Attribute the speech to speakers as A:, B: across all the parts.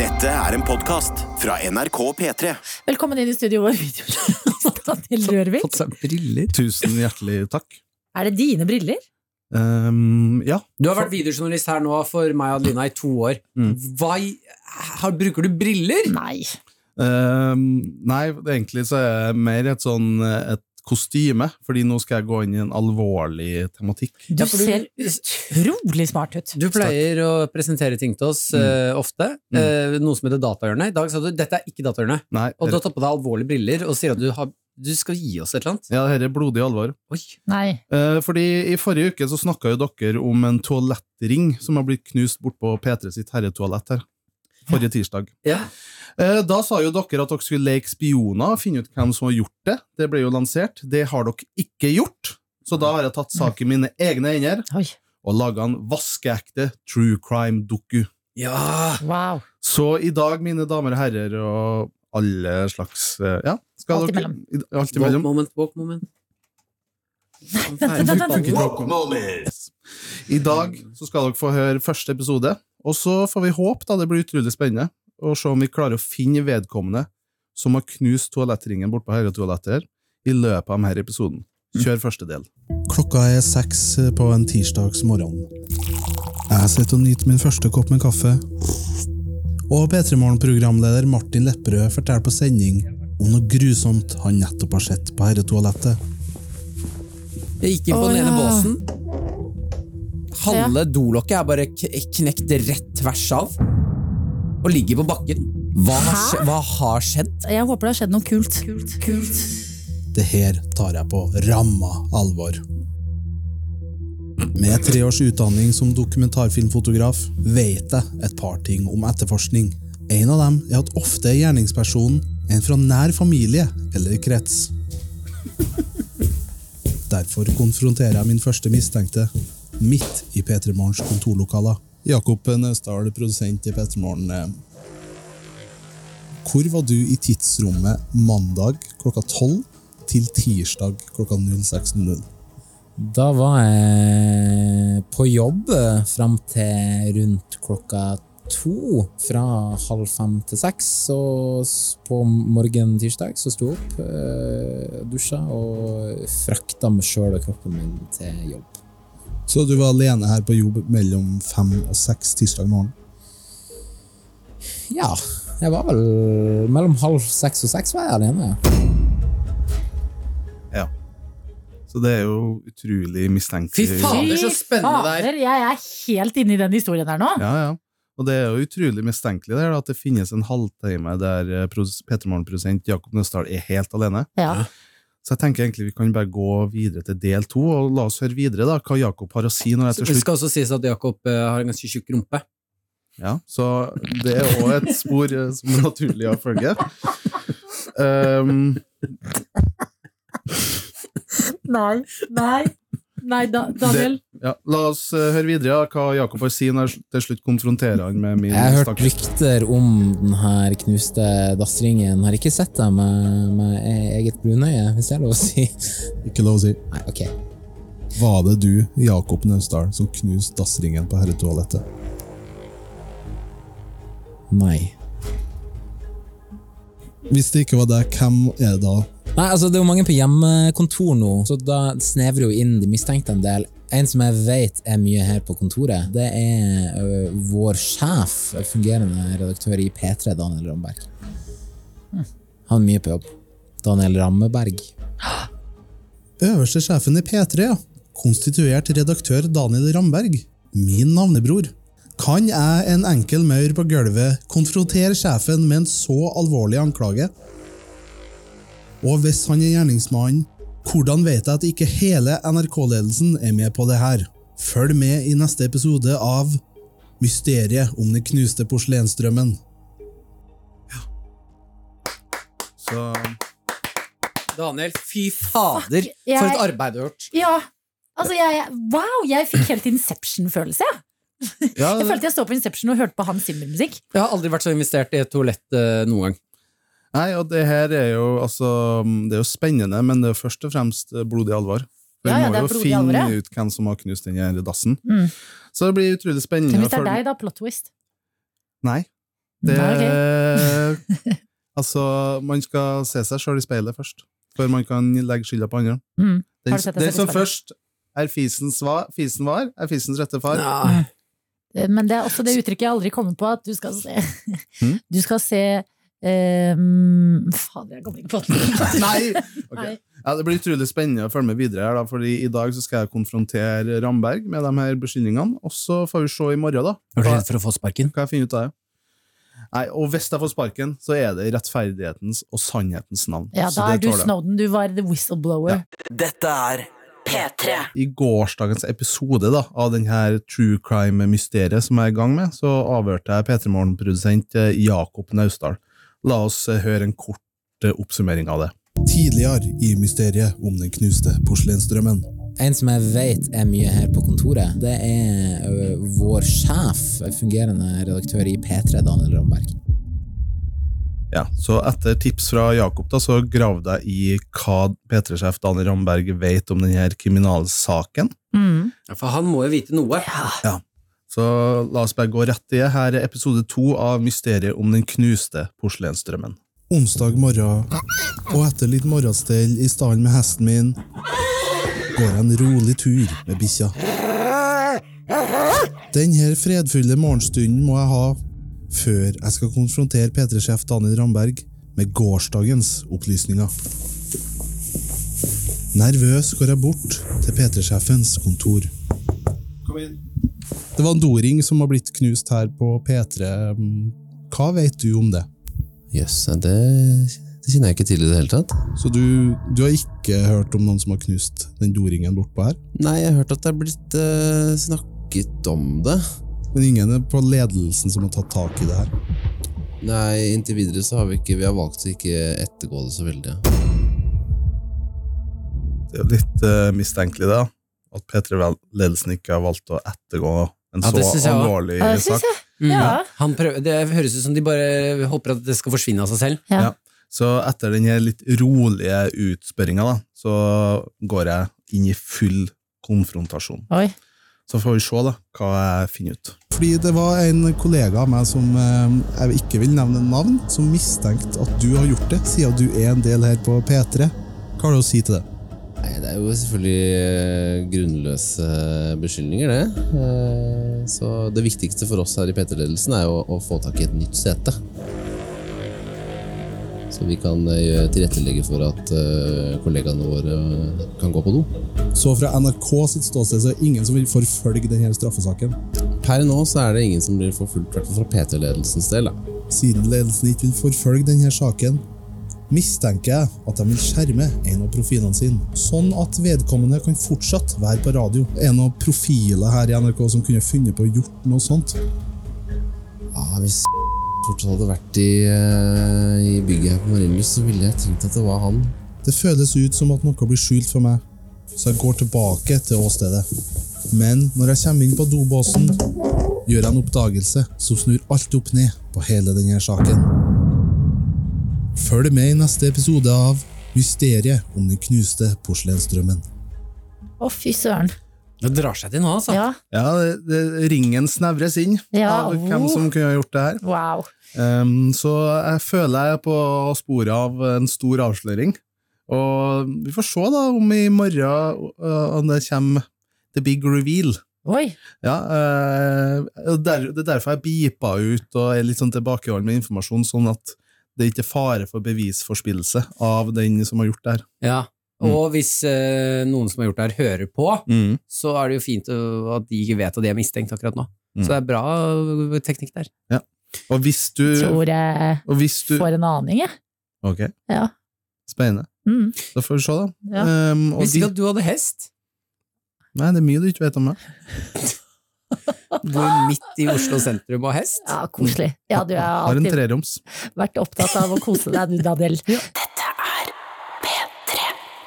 A: Dette er en podkast fra NRK P3.
B: Velkommen inn i studio vår, videojournalist Daniel Rørvik.
C: Fått seg briller.
D: Tusen hjertelig takk.
B: Er det dine briller?
D: Ehm, ja.
C: Du har vært videojournalist her nå for meg og Adelina i to år. Hva, i- har, bruker du briller?
B: Nei.
D: Ehm, nei, egentlig så er jeg mer et sånn eh, et kostyme, fordi nå skal jeg gå inn i en alvorlig tematikk.
B: Du
C: Ja, for du-
B: ser utrolig smart ut.
C: Du pleier å presentere ting til oss eh, ofte. Eh, noe som heter datahjørnet. I dag sa du dette er ikke datahjørnet.
D: Nei,
C: Og du
D: her,
C: har tatt på deg alvorlige briller og sier at du, har, du skal gi oss et eller annet.
D: ja, her er blodig alvor.
C: Oi.
B: Nei.
D: Eh, fordi i forrige uke så snakka jo dere om en toalettring som har blitt knust bort på P3 sitt herretoalett her. Forrige tirsdag.
C: Ja.
D: Eh, Da sa jo dere at dere skulle leke spioner og finne ut hvem som har gjort det. Det ble jo lansert. Det har dere ikke gjort, så da har jeg tatt sak i mine egne hender.
B: Oi.
D: og laga en vaskeekte true crime-doku.
C: ja.
B: Wow.
D: Så i dag, mine damer og herrer, og alle slags eh, Ja, skal
B: Alt
D: dere
B: imellom.
D: i- Alt
C: Walk
D: imellom.
C: moment, walk moment.
B: vent, vent, vent, vent.
D: Walk I dag så skal dere få høre første episode, og så får vi håpe da det blir utrolig spennende, og se om vi klarer å finne vedkommende som har knust toalettringen borte på herretoalettet her, i løpet av denne episoden. Kjør første del.
E: Klokka er seks på en tirsdags morgen. Jeg sitter og nyter min første kopp med kaffe. Og P3 Morgen-programleder Martin Lepperød forteller på sending om noe grusomt han nettopp har sett på herretoalettet.
C: Jeg gikk inn på
B: Å,
C: den ene
B: ja.
C: båsen. Halve dolokket er bare k knekt rett tvers av og ligger på bakken. Hva har,
B: Hæ?
C: skje- hva har skjedd?
B: Jeg håper det har skjedd noe kult. Kult. kult.
E: Det her tar jeg på ramma alvor. Med tre års utdanning som dokumentarfilmfotograf vet jeg et par ting om etterforskning. En av dem er at ofte er gjerningspersonen en fra nær familie eller krets. Derfor konfronterer jeg min første mistenkte midt i P3 Morgens kontorlokaler. Jakob Naustdal, produsent i P3 Morgen. eh, hvor var du i tidsrommet mandag klokka 12 til tirsdag klokka 06.00?
F: Da var jeg på jobb eh, fram til rundt klokka to. Fra halv fem til seks. Og s- på morgenen tirsdag så sto jeg opp, eh, dusja og frakta meg sjøl og kroppen min til jobb.
E: Så du var alene her på jobb mellom fem og seks tirsdag morgen.
F: Ja, jeg var vel mellom halv seks og seks var jeg alene. ja.
D: Ja. Så det er jo utrolig mistenkelig.
C: Fy faen! det er så spennende det er.
B: Fader, jeg er helt inne i den historien her nå.
D: Ja, ja. Og det er jo utrolig mistenkelig det, her, da, at det finnes en halvtime der eh, Petermorgen-produsent Jakob Nøsdal er helt alene.
B: Ja.
D: Så jeg tenker egentlig vi kan bare gå videre til del to, og la oss høre videre da, hva Jakob har å si når jeg
C: Så
D: til
C: Det
D: slutt.
C: skal også sies at Jakob eh, har en ganske tjukk rumpe.
D: Ja, så det er også et spor eh, som er naturlig å følge. Um,
B: Nei. Nei. Nei, da, Daniel.
D: ja, la oss eh, høre videre da, hva Jakob har å si når jeg til slutt konfronterer han med min
F: Jeg har hørt
D: stakkars-
F: rykter om den her knuste dassringen. Har ikke sett det med, med eget brunøye, hvis det er lov å si.
E: Ikke lov å si.
F: Nei, ok.
E: Var det du, Jakob Naustdal, som knuste dassringen på herretoalettet?
F: Nei.
E: Hvis det ikke var deg, hvem er det da?
F: Nei, altså Det er jo mange på hjemmekontor nå, så da snevrer jo inn de mistenkte en del. En som jeg vet er mye her på kontoret, det er ø, vår sjef, fungerende redaktør i P3, Daniel Ramberg.
C: Hm.
F: Han er mye på jobb. Daniel Rammeberg.
E: Øverste sjefen i P3, ja. Konstituert redaktør Daniel Ramberg. Min navnebror. Kan jeg, en enkel maur på gulvet, konfrontere sjefen med en så alvorlig anklage? Og hvis han er gjerningsmannen, hvordan vet jeg at ikke hele NRK-ledelsen er med på det her? Følg med i neste episode av Mysteriet om den knuste porselensdrømmen.
D: Så,
C: Daniel, fy fader,
B: Fuck, jeg-
C: for et arbeid du har gjort!
B: Ja. Altså, jeg, wow, jeg fikk helt Inception-følelse. jeg.
D: ja,
B: Jeg følte jeg så på Inception og hørte på Hans Zimmer-musikk.
C: Jeg har aldri vært så investert i et toalett eh, noen gang.
D: Nei, og det her er jo altså, Det er jo spennende, men det er jo først og fremst eh, blodig alvor. For
B: Ja, ja, det er
D: vi må jo
B: blodig
D: finne
B: alvor, ja.
D: ut hvem som har knust den her dassen.
B: Mm.
D: Så det blir utrolig spennende.
B: Men hvis det
D: å
B: er Mm,
D: følge-
B: deg, da, plot twist.
D: Nei. Det
B: Nei,
D: Altså, man skal se seg sjøl i speilet først, før man kan legge skylda på andre.
B: Mm.
D: Den,
B: Har du sett deg
D: den
B: selv i
D: som
B: speilet?
D: først er fisens va, fisen var, er fisens rette far.
C: Ja.
B: Eh, Men det er også det uttrykket jeg aldri kommer på, at du skal se
D: Mm.
B: Du skal se eh, mm, Fader, jeg kommer ikke på det.
D: Nei! Ok.
B: Nei.
D: Ja, det blir utrolig spennende å følge med videre her, da, fordi i dag så skal jeg konfrontere Ramberg med de her beskyldningene, og så får vi se i morgen, da.
C: Er du
D: Hva-
C: redd for å få sparken?
D: Hva jeg finner ut av det. Nei, og hvis jeg får sparken, så er det i rettferdighetens og sannhetens navn.
B: Ja,
D: Så
B: da er
D: det
B: du
D: tåler jeg.
B: Snowden, du var the whistleblower.
A: Dette er P3.
D: I gårsdagens episode da, av denne true crime-mysteriet som jeg er i gang med, så avhørte jeg P3 Morgen-produsent eh, Jakob Naustdal. La oss eh, høre en kort eh, oppsummering av det.
E: Tidligere i mysteriet om den knuste porselensdrømmen.
F: En som jeg vet er mye her på kontoret, det er ø, vår sjef, fungerende redaktør i P3, Daniel Ramberg.
D: Ja, så etter tips fra Jakob da, så gravde jeg i hva P3-sjef Daniel Ramberg vet om denne kriminalsaken.
B: Mm.
G: Ja, For han må jo vite noe.
D: Så la oss bare gå rett i det. Her er episode to av Mysteriet om den knuste porselensdrømmen.
E: Onsdag morgen, og etter litt morgenstell i stallen med hesten min, går jeg en rolig tur med bikkja. Denne fredfulle morgenstunden må jeg ha før jeg skal konfrontere P3-sjef Daniel Ramberg med gårsdagens opplysninger. Nervøs går jeg bort til P3-sjefens kontor.
D: Kom inn.
E: Det var en doring som har blitt knust her på P3. Hva vet du om det?
H: Jøss, nei, det, det kjenner jeg ikke til i det hele tatt.
E: Så du, du har ikke hørt om noen som har knust den doringen bortpå her?
H: Nei, jeg har hørt at det er blitt eh, snakket om det.
E: Men ingen er på ledelsen som har tatt tak i det her.
H: Nei, inntil videre så har vi ikke Vi har valgt å ikke ettergå det så veldig. ja.
D: Det er jo litt eh, mistenkelig, da. At P3-ledelsen ikke har valgt å ettergå en
G: Ja,
D: så
G: det synes jeg også.
D: alvorlig
B: Ja, det syns
D: sak.
B: jeg. Ja.
G: Han prøver, det høres ut som de bare håper at det skal forsvinne av seg selv.
B: Ja.
D: Ja. Så etter den her litt rolige utspørringa, da, så går jeg inn i full konfrontasjon.
B: Oi.
D: Så får vi se da, hva jeg finner ut.
E: Fordi det var en kollega av meg som eh, jeg ikke vil nevne navn, som mistenkte at du har gjort det, siden du er en del her på P3. Hva har du å si til det?
H: Nei, det er jo selvfølgelig eh, grunnløse beskyldninger, det. Eh, Så det viktigste for oss her i PT-ledelsen er jo å få tak i et nytt sete. Så vi kan eh, gjøre- tilrettelegge for at eh, kollegaene våre eh, kan gå på do.
E: Så fra NRK sitt ståsted så er det ingen som vil forfølge denne straffesaken.
H: Per nå så er det ingen som blir forfulgt, i hvert fall fra PT-ledelsens del. da.
E: Siden ledelsen ikke vil forfølge denne saken, mistenker jeg at de vil skjerme en av profilene sine, sånn at vedkommende kan fortsatt være på radio. En av profilene her i NRK som kunne funnet på å gjort noe sånt.
H: Ja, Hvis fortsatt hadde vært i, eh, i bygget her på Marienlyst, så ville jeg tenkt at det var han.
E: Det føles ut som at noe blir skjult for meg, så jeg går tilbake til åstedet. Men når jeg kommer inn på dobåsen, gjør jeg en oppdagelse som snur alt opp ned på hele denne saken. Følg med i neste episode av Mysteriet om den knuste porselensdrømmen.
B: Å, fy søren.
G: Det drar seg til nå, altså.
B: Ja.
D: Ja, det, det, Ringen snevres inn
B: Ja,
D: av hvem
B: oh.
D: som kunne ha gjort det her.
B: Wow.
D: Ehm, så jeg føler jeg er på sporet av en stor avsløring. Og vi får se da om i morgen øh, om det kommer the big reveal.
B: Oi.
D: Ja, eh, og der, Det er derfor jeg bipa ut og er litt sånn tilbakeholden med informasjon, sånn at det ikke er fare for bevisforspillelse av den som har gjort det her.
G: Ja. Og hvis eh, noen som har gjort det her, hører på,
D: Mm.
G: så er det jo fint å- at de ikke vet at de er mistenkt akkurat nå.
D: Mm.
G: Så det er bra eh, teknikk der.
D: Og hvis du,
B: Tror jeg
D: og hvis du
B: får en aning, jeg.
D: Ok,
B: Ja.
D: spennende.
B: Mm.
D: Da får vi se, da.
B: Ja.
D: Ehm, og
G: Hvis
D: de,
G: ikke at du hadde hest,
D: nei, det er mye du ikke vet om meg.
G: bor midt i Oslo sentrum og hest.
B: Ja, koselig. Ja, du har
D: Har en
B: alltid
D: treroms.
B: vært opptatt av å kose deg, du, Daniel.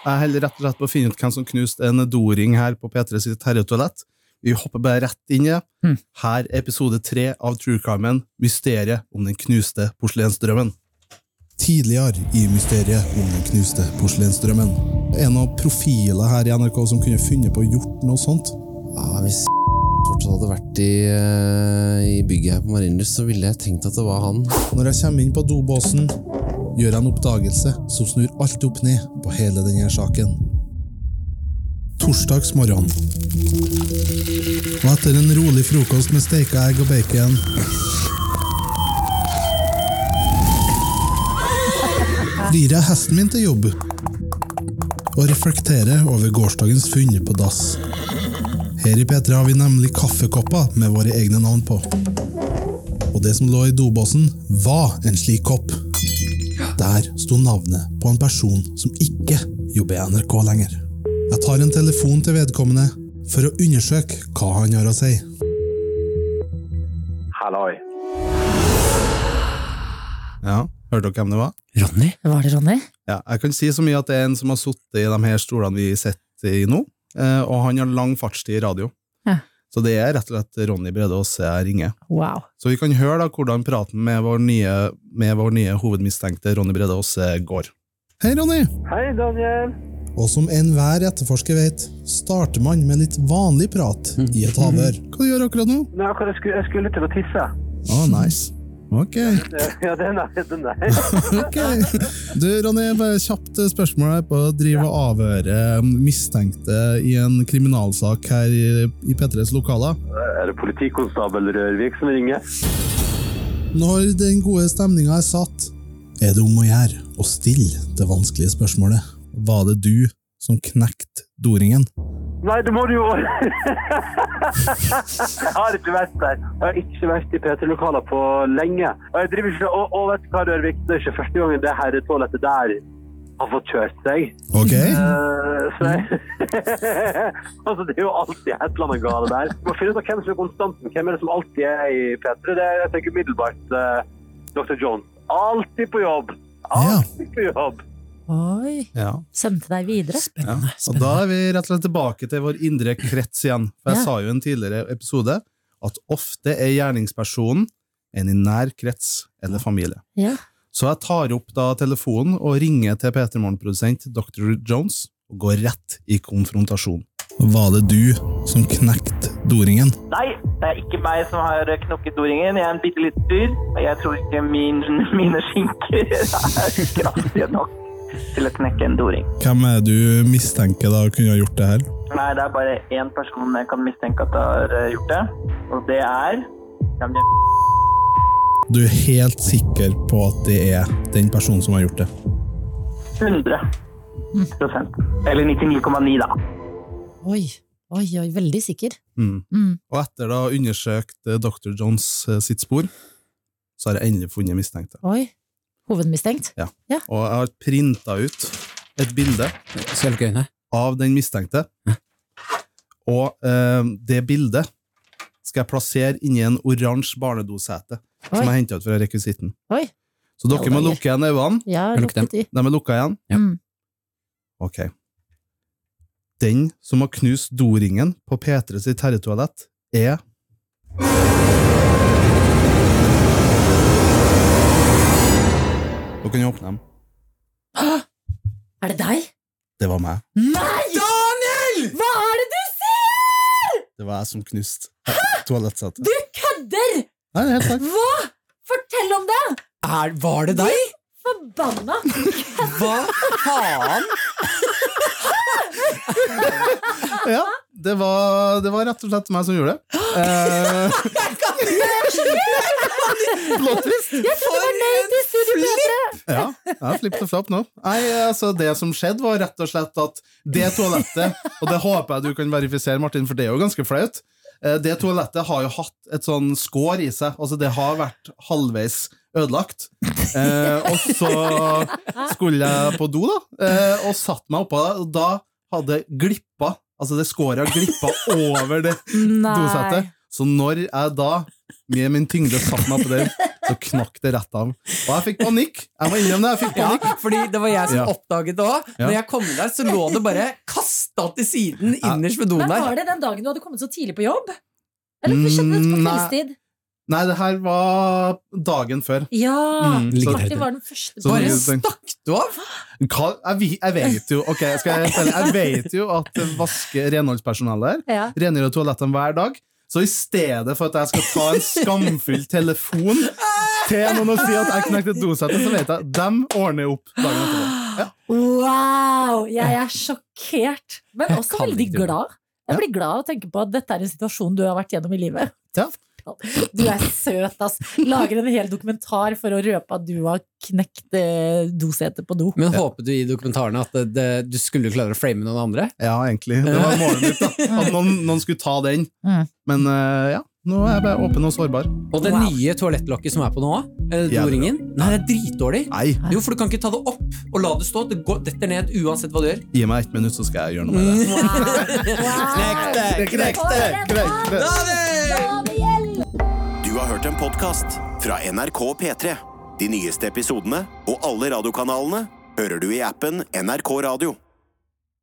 D: Jeg holder rett og slett på å finne ut hvem som knuste en doring her på P3 sitt herretoalett. Vi hopper bare rett inn i det.
B: Mm.
D: Her er episode tre av True Crime-en Mysteriet om den knuste porselensdrømmen.
E: Tidligere i mysteriet om den knuste porselensdrømmen. En av profilene her i NRK som kunne funnet på å gjort noe sånt.
H: Ja, Hvis fortsatt hadde vært i, eh, i bygget her på Marienlyst, så ville jeg tenkt at det var han.
E: Når jeg kommer inn på dobåsen, gjør jeg en oppdagelse som snur alt opp ned på hele denne saken. Torsdagsmorgen. Og etter en rolig frokost med steika egg og bacon rir jeg hesten min til jobb og reflekterer over gårsdagens funn på dass. Her i P3 har vi nemlig kaffekopper med våre egne navn på. Og det som lå i dobåsen, var en slik kopp. Der sto navnet på en person som ikke jobber i NRK lenger. Jeg tar en telefon til vedkommende for å undersøke hva han har å si.
I: Halloi.
D: Ja, Hørte dere hvem det var?
G: Ronny?
B: Var det Ronny?
D: Ja, jeg kan si så mye at det er en som har sittet i de her stolene vi sitter i nå, eh, og han har lang fartstid i radio.
B: Ja.
D: Så det er rett og slett Ronny Brede Aase jeg ringer.
B: Wow.
D: Så vi kan høre da hvordan praten med vår nye, med vår nye hovedmistenkte Ronny Brede Aase går.
E: Hei, Ronny!
I: Hei, Daniel.
E: Og som enhver etterforsker vet, starter man med litt vanlig prat i et havør.
D: Mhm. Hva du gjør du akkurat nå?
I: Nei, akkurat jeg skulle, jeg skulle til å tisse.
D: Å, nice. Ok.
I: Ja, den er den er.
D: ok.
E: Du, Ronny, bare kjapt eh, spørsmål her på å drive og avhøre eh, mistenkte i en kriminalsak her i P3s lokaler.
I: Er det politikonstabel Rørvik som ringer?
E: Når den gode stemninga er satt, er det om å gjøre å stille det vanskelige spørsmålet. Var det du som knekte doringen?
I: Nei, det må du jo Jeg har ikke vært der. Jeg har ikke vært i PT-lokaler på lenge. Og jeg driver ikke og, og vet du hva, Rørvik, det er ikke første gangen det herretoalettet der har fått kjørt seg.
E: Ok.
I: Eh, så jeg Altså, det er jo alltid et eller annet gale der. Du må finne ut av hvem som er konstanten. Hvem er det som alltid er i P3? Det er jeg tenker umiddelbart eh, Dr. Jones. Alltid på jobb! Alltid på jobb!
B: Oi.
D: Ja.
B: Sendte deg videre.
D: Ja. Og da er vi rett og slett tilbake til vår indre krets igjen. For jeg
B: Ja.
D: sa jo i en tidligere episode at ofte er gjerningspersonen en i nær krets eller familie.
B: Ja.
D: Så jeg tar opp da telefonen og ringer til P3 Morgen-produsent Dr. Jones og går rett i konfrontasjon.
E: Var det du som knekte doringen?
J: Nei, det er ikke meg som har knokket doringen. Jeg er en bitte liten dyr, og jeg tror ikke min, mine skinker er kraftige nok til å knekke en doring.
E: Hvem er det du mistenker da kunne ha gjort det her?
J: Nei, det er bare én person jeg kan mistenke at har eh, gjort det, og det er Ja, men jeg-
E: Du er helt sikker på at det er den personen som har gjort det?
J: 100 Eller 99,9, da.
B: Oi. Oi, oi, veldig sikker.
D: Mm.
B: Mm.
D: Og etter da å ha undersøkt eh, Dr. Jones eh, sitt spor, så har jeg endelig funnet mistenkte.
B: Oi. Hovedmistenkt.
D: Og jeg har printa ut et bilde
G: Så jeg lukker øynene.
D: av den mistenkte. Og eh, det bildet skal jeg plassere inni en oransje barnedosete som
B: Oi.
D: jeg henta ut fra rekvisitten.
B: Oi.
D: Så dere må
B: Ja,
D: lukke igjen øynene.
B: Ja,
G: Jeg lukket
B: lukket i.
D: De er lukka igjen.
G: Ja.
B: Mm.
D: Ok. Den som har knust doringen på P3 sitt herretoalett, er Dere kan åpne dem.
B: Er det deg?
D: Det var meg.
B: Nei! Daniel! Hva er det du sier?!
D: Det var jeg som knuste toalettsetet.
B: Du kødder!
D: Nei, det er helt sant.
B: Hva?! Fortell om det!
G: Er, var det deg?
B: Forbanna!
G: Hva faen?
D: Ja, det var, det var rett og slett meg som gjorde det. Eh,
G: For en flipp!
D: ja, jeg har flippet og flapp nå. Nei, altså Det som skjedde, var rett og slett at det toalettet Og det håper jeg du kan verifisere, Martin, for det er jo ganske flaut. Eh, Det toalettet har jo hatt et sånn skår i seg. Altså Det har vært halvveis ødelagt. Eh, og så skulle jeg på do, da, eh, og satte meg oppå det, og da hadde glippa Altså det skåret glippa over det dosete. Så når jeg da med min tyngde satte meg på den, så knakk det rett av. Og jeg fikk panikk! Jeg må innrømme det, jeg fikk
G: Ja,
D: panikk.
G: fordi det var jeg som
D: Ja.
G: oppdaget det òg.
D: Ja.
G: Når jeg kom der, så lå det bare kasta til siden innerst ved
B: Men
G: doen
B: var
G: der.
B: det den dagen du hadde kommet så tidlig på jobb? Eller hva skjedde det på
D: Mm, nei.
B: kveldstid?
D: Nei, det her var dagen før.
B: Ja!
D: Mm, så-
B: Martin var den første
D: Så-
G: Bare
D: mye tenkt.
G: stakk du av?
D: Hva, jeg, vi- jeg vet jo Ok, skal jeg fortelle? Jeg vet jo at vaske renholdspersonellet her
B: Ja.
D: rengjør toalettene hver dag. Så i stedet for at jeg skal ta en skamfull telefon til noen og si at jeg knekte et dosette, så vet jeg dem ordner opp dagen etterpå. Ja.
B: Wow! Jeg er sjokkert, men
F: Jeg
B: også
F: kan
B: veldig
F: ikke tro det.
B: glad. Jeg blir glad av å tenke på at dette er en situasjon du har vært gjennom i livet.
D: Ja.
B: Du er søt, ass. Lager en hel dokumentar for å røpe at du har knekt eh, dosete på do.
F: Men håpet du i dokumentaren at det, det, du skulle klare å frame noen andre?
D: ja, egentlig. Det var målet mitt, da. At noen, noen skulle ta den.
B: Mm.
D: Men eh, ja, nå er jeg bare åpen og sårbar.
F: Og det
B: Wow.
F: nye toalettlokket som er på nå, eh,
D: Jævlig
F: doringen, nei, det er dritdårlig.
D: Nei,
F: Jo, for du kan ikke ta det opp og la det stå. Det går, detter ned uansett hva du gjør.
D: gi meg ett minutt, så skal jeg gjøre noe med det.
F: Knekk det!
D: Knekt det, knekt det.
K: Du har hørt en podkast fra NRK P3. De nyeste episodene og alle radiokanalene hører du i appen NRK Radio.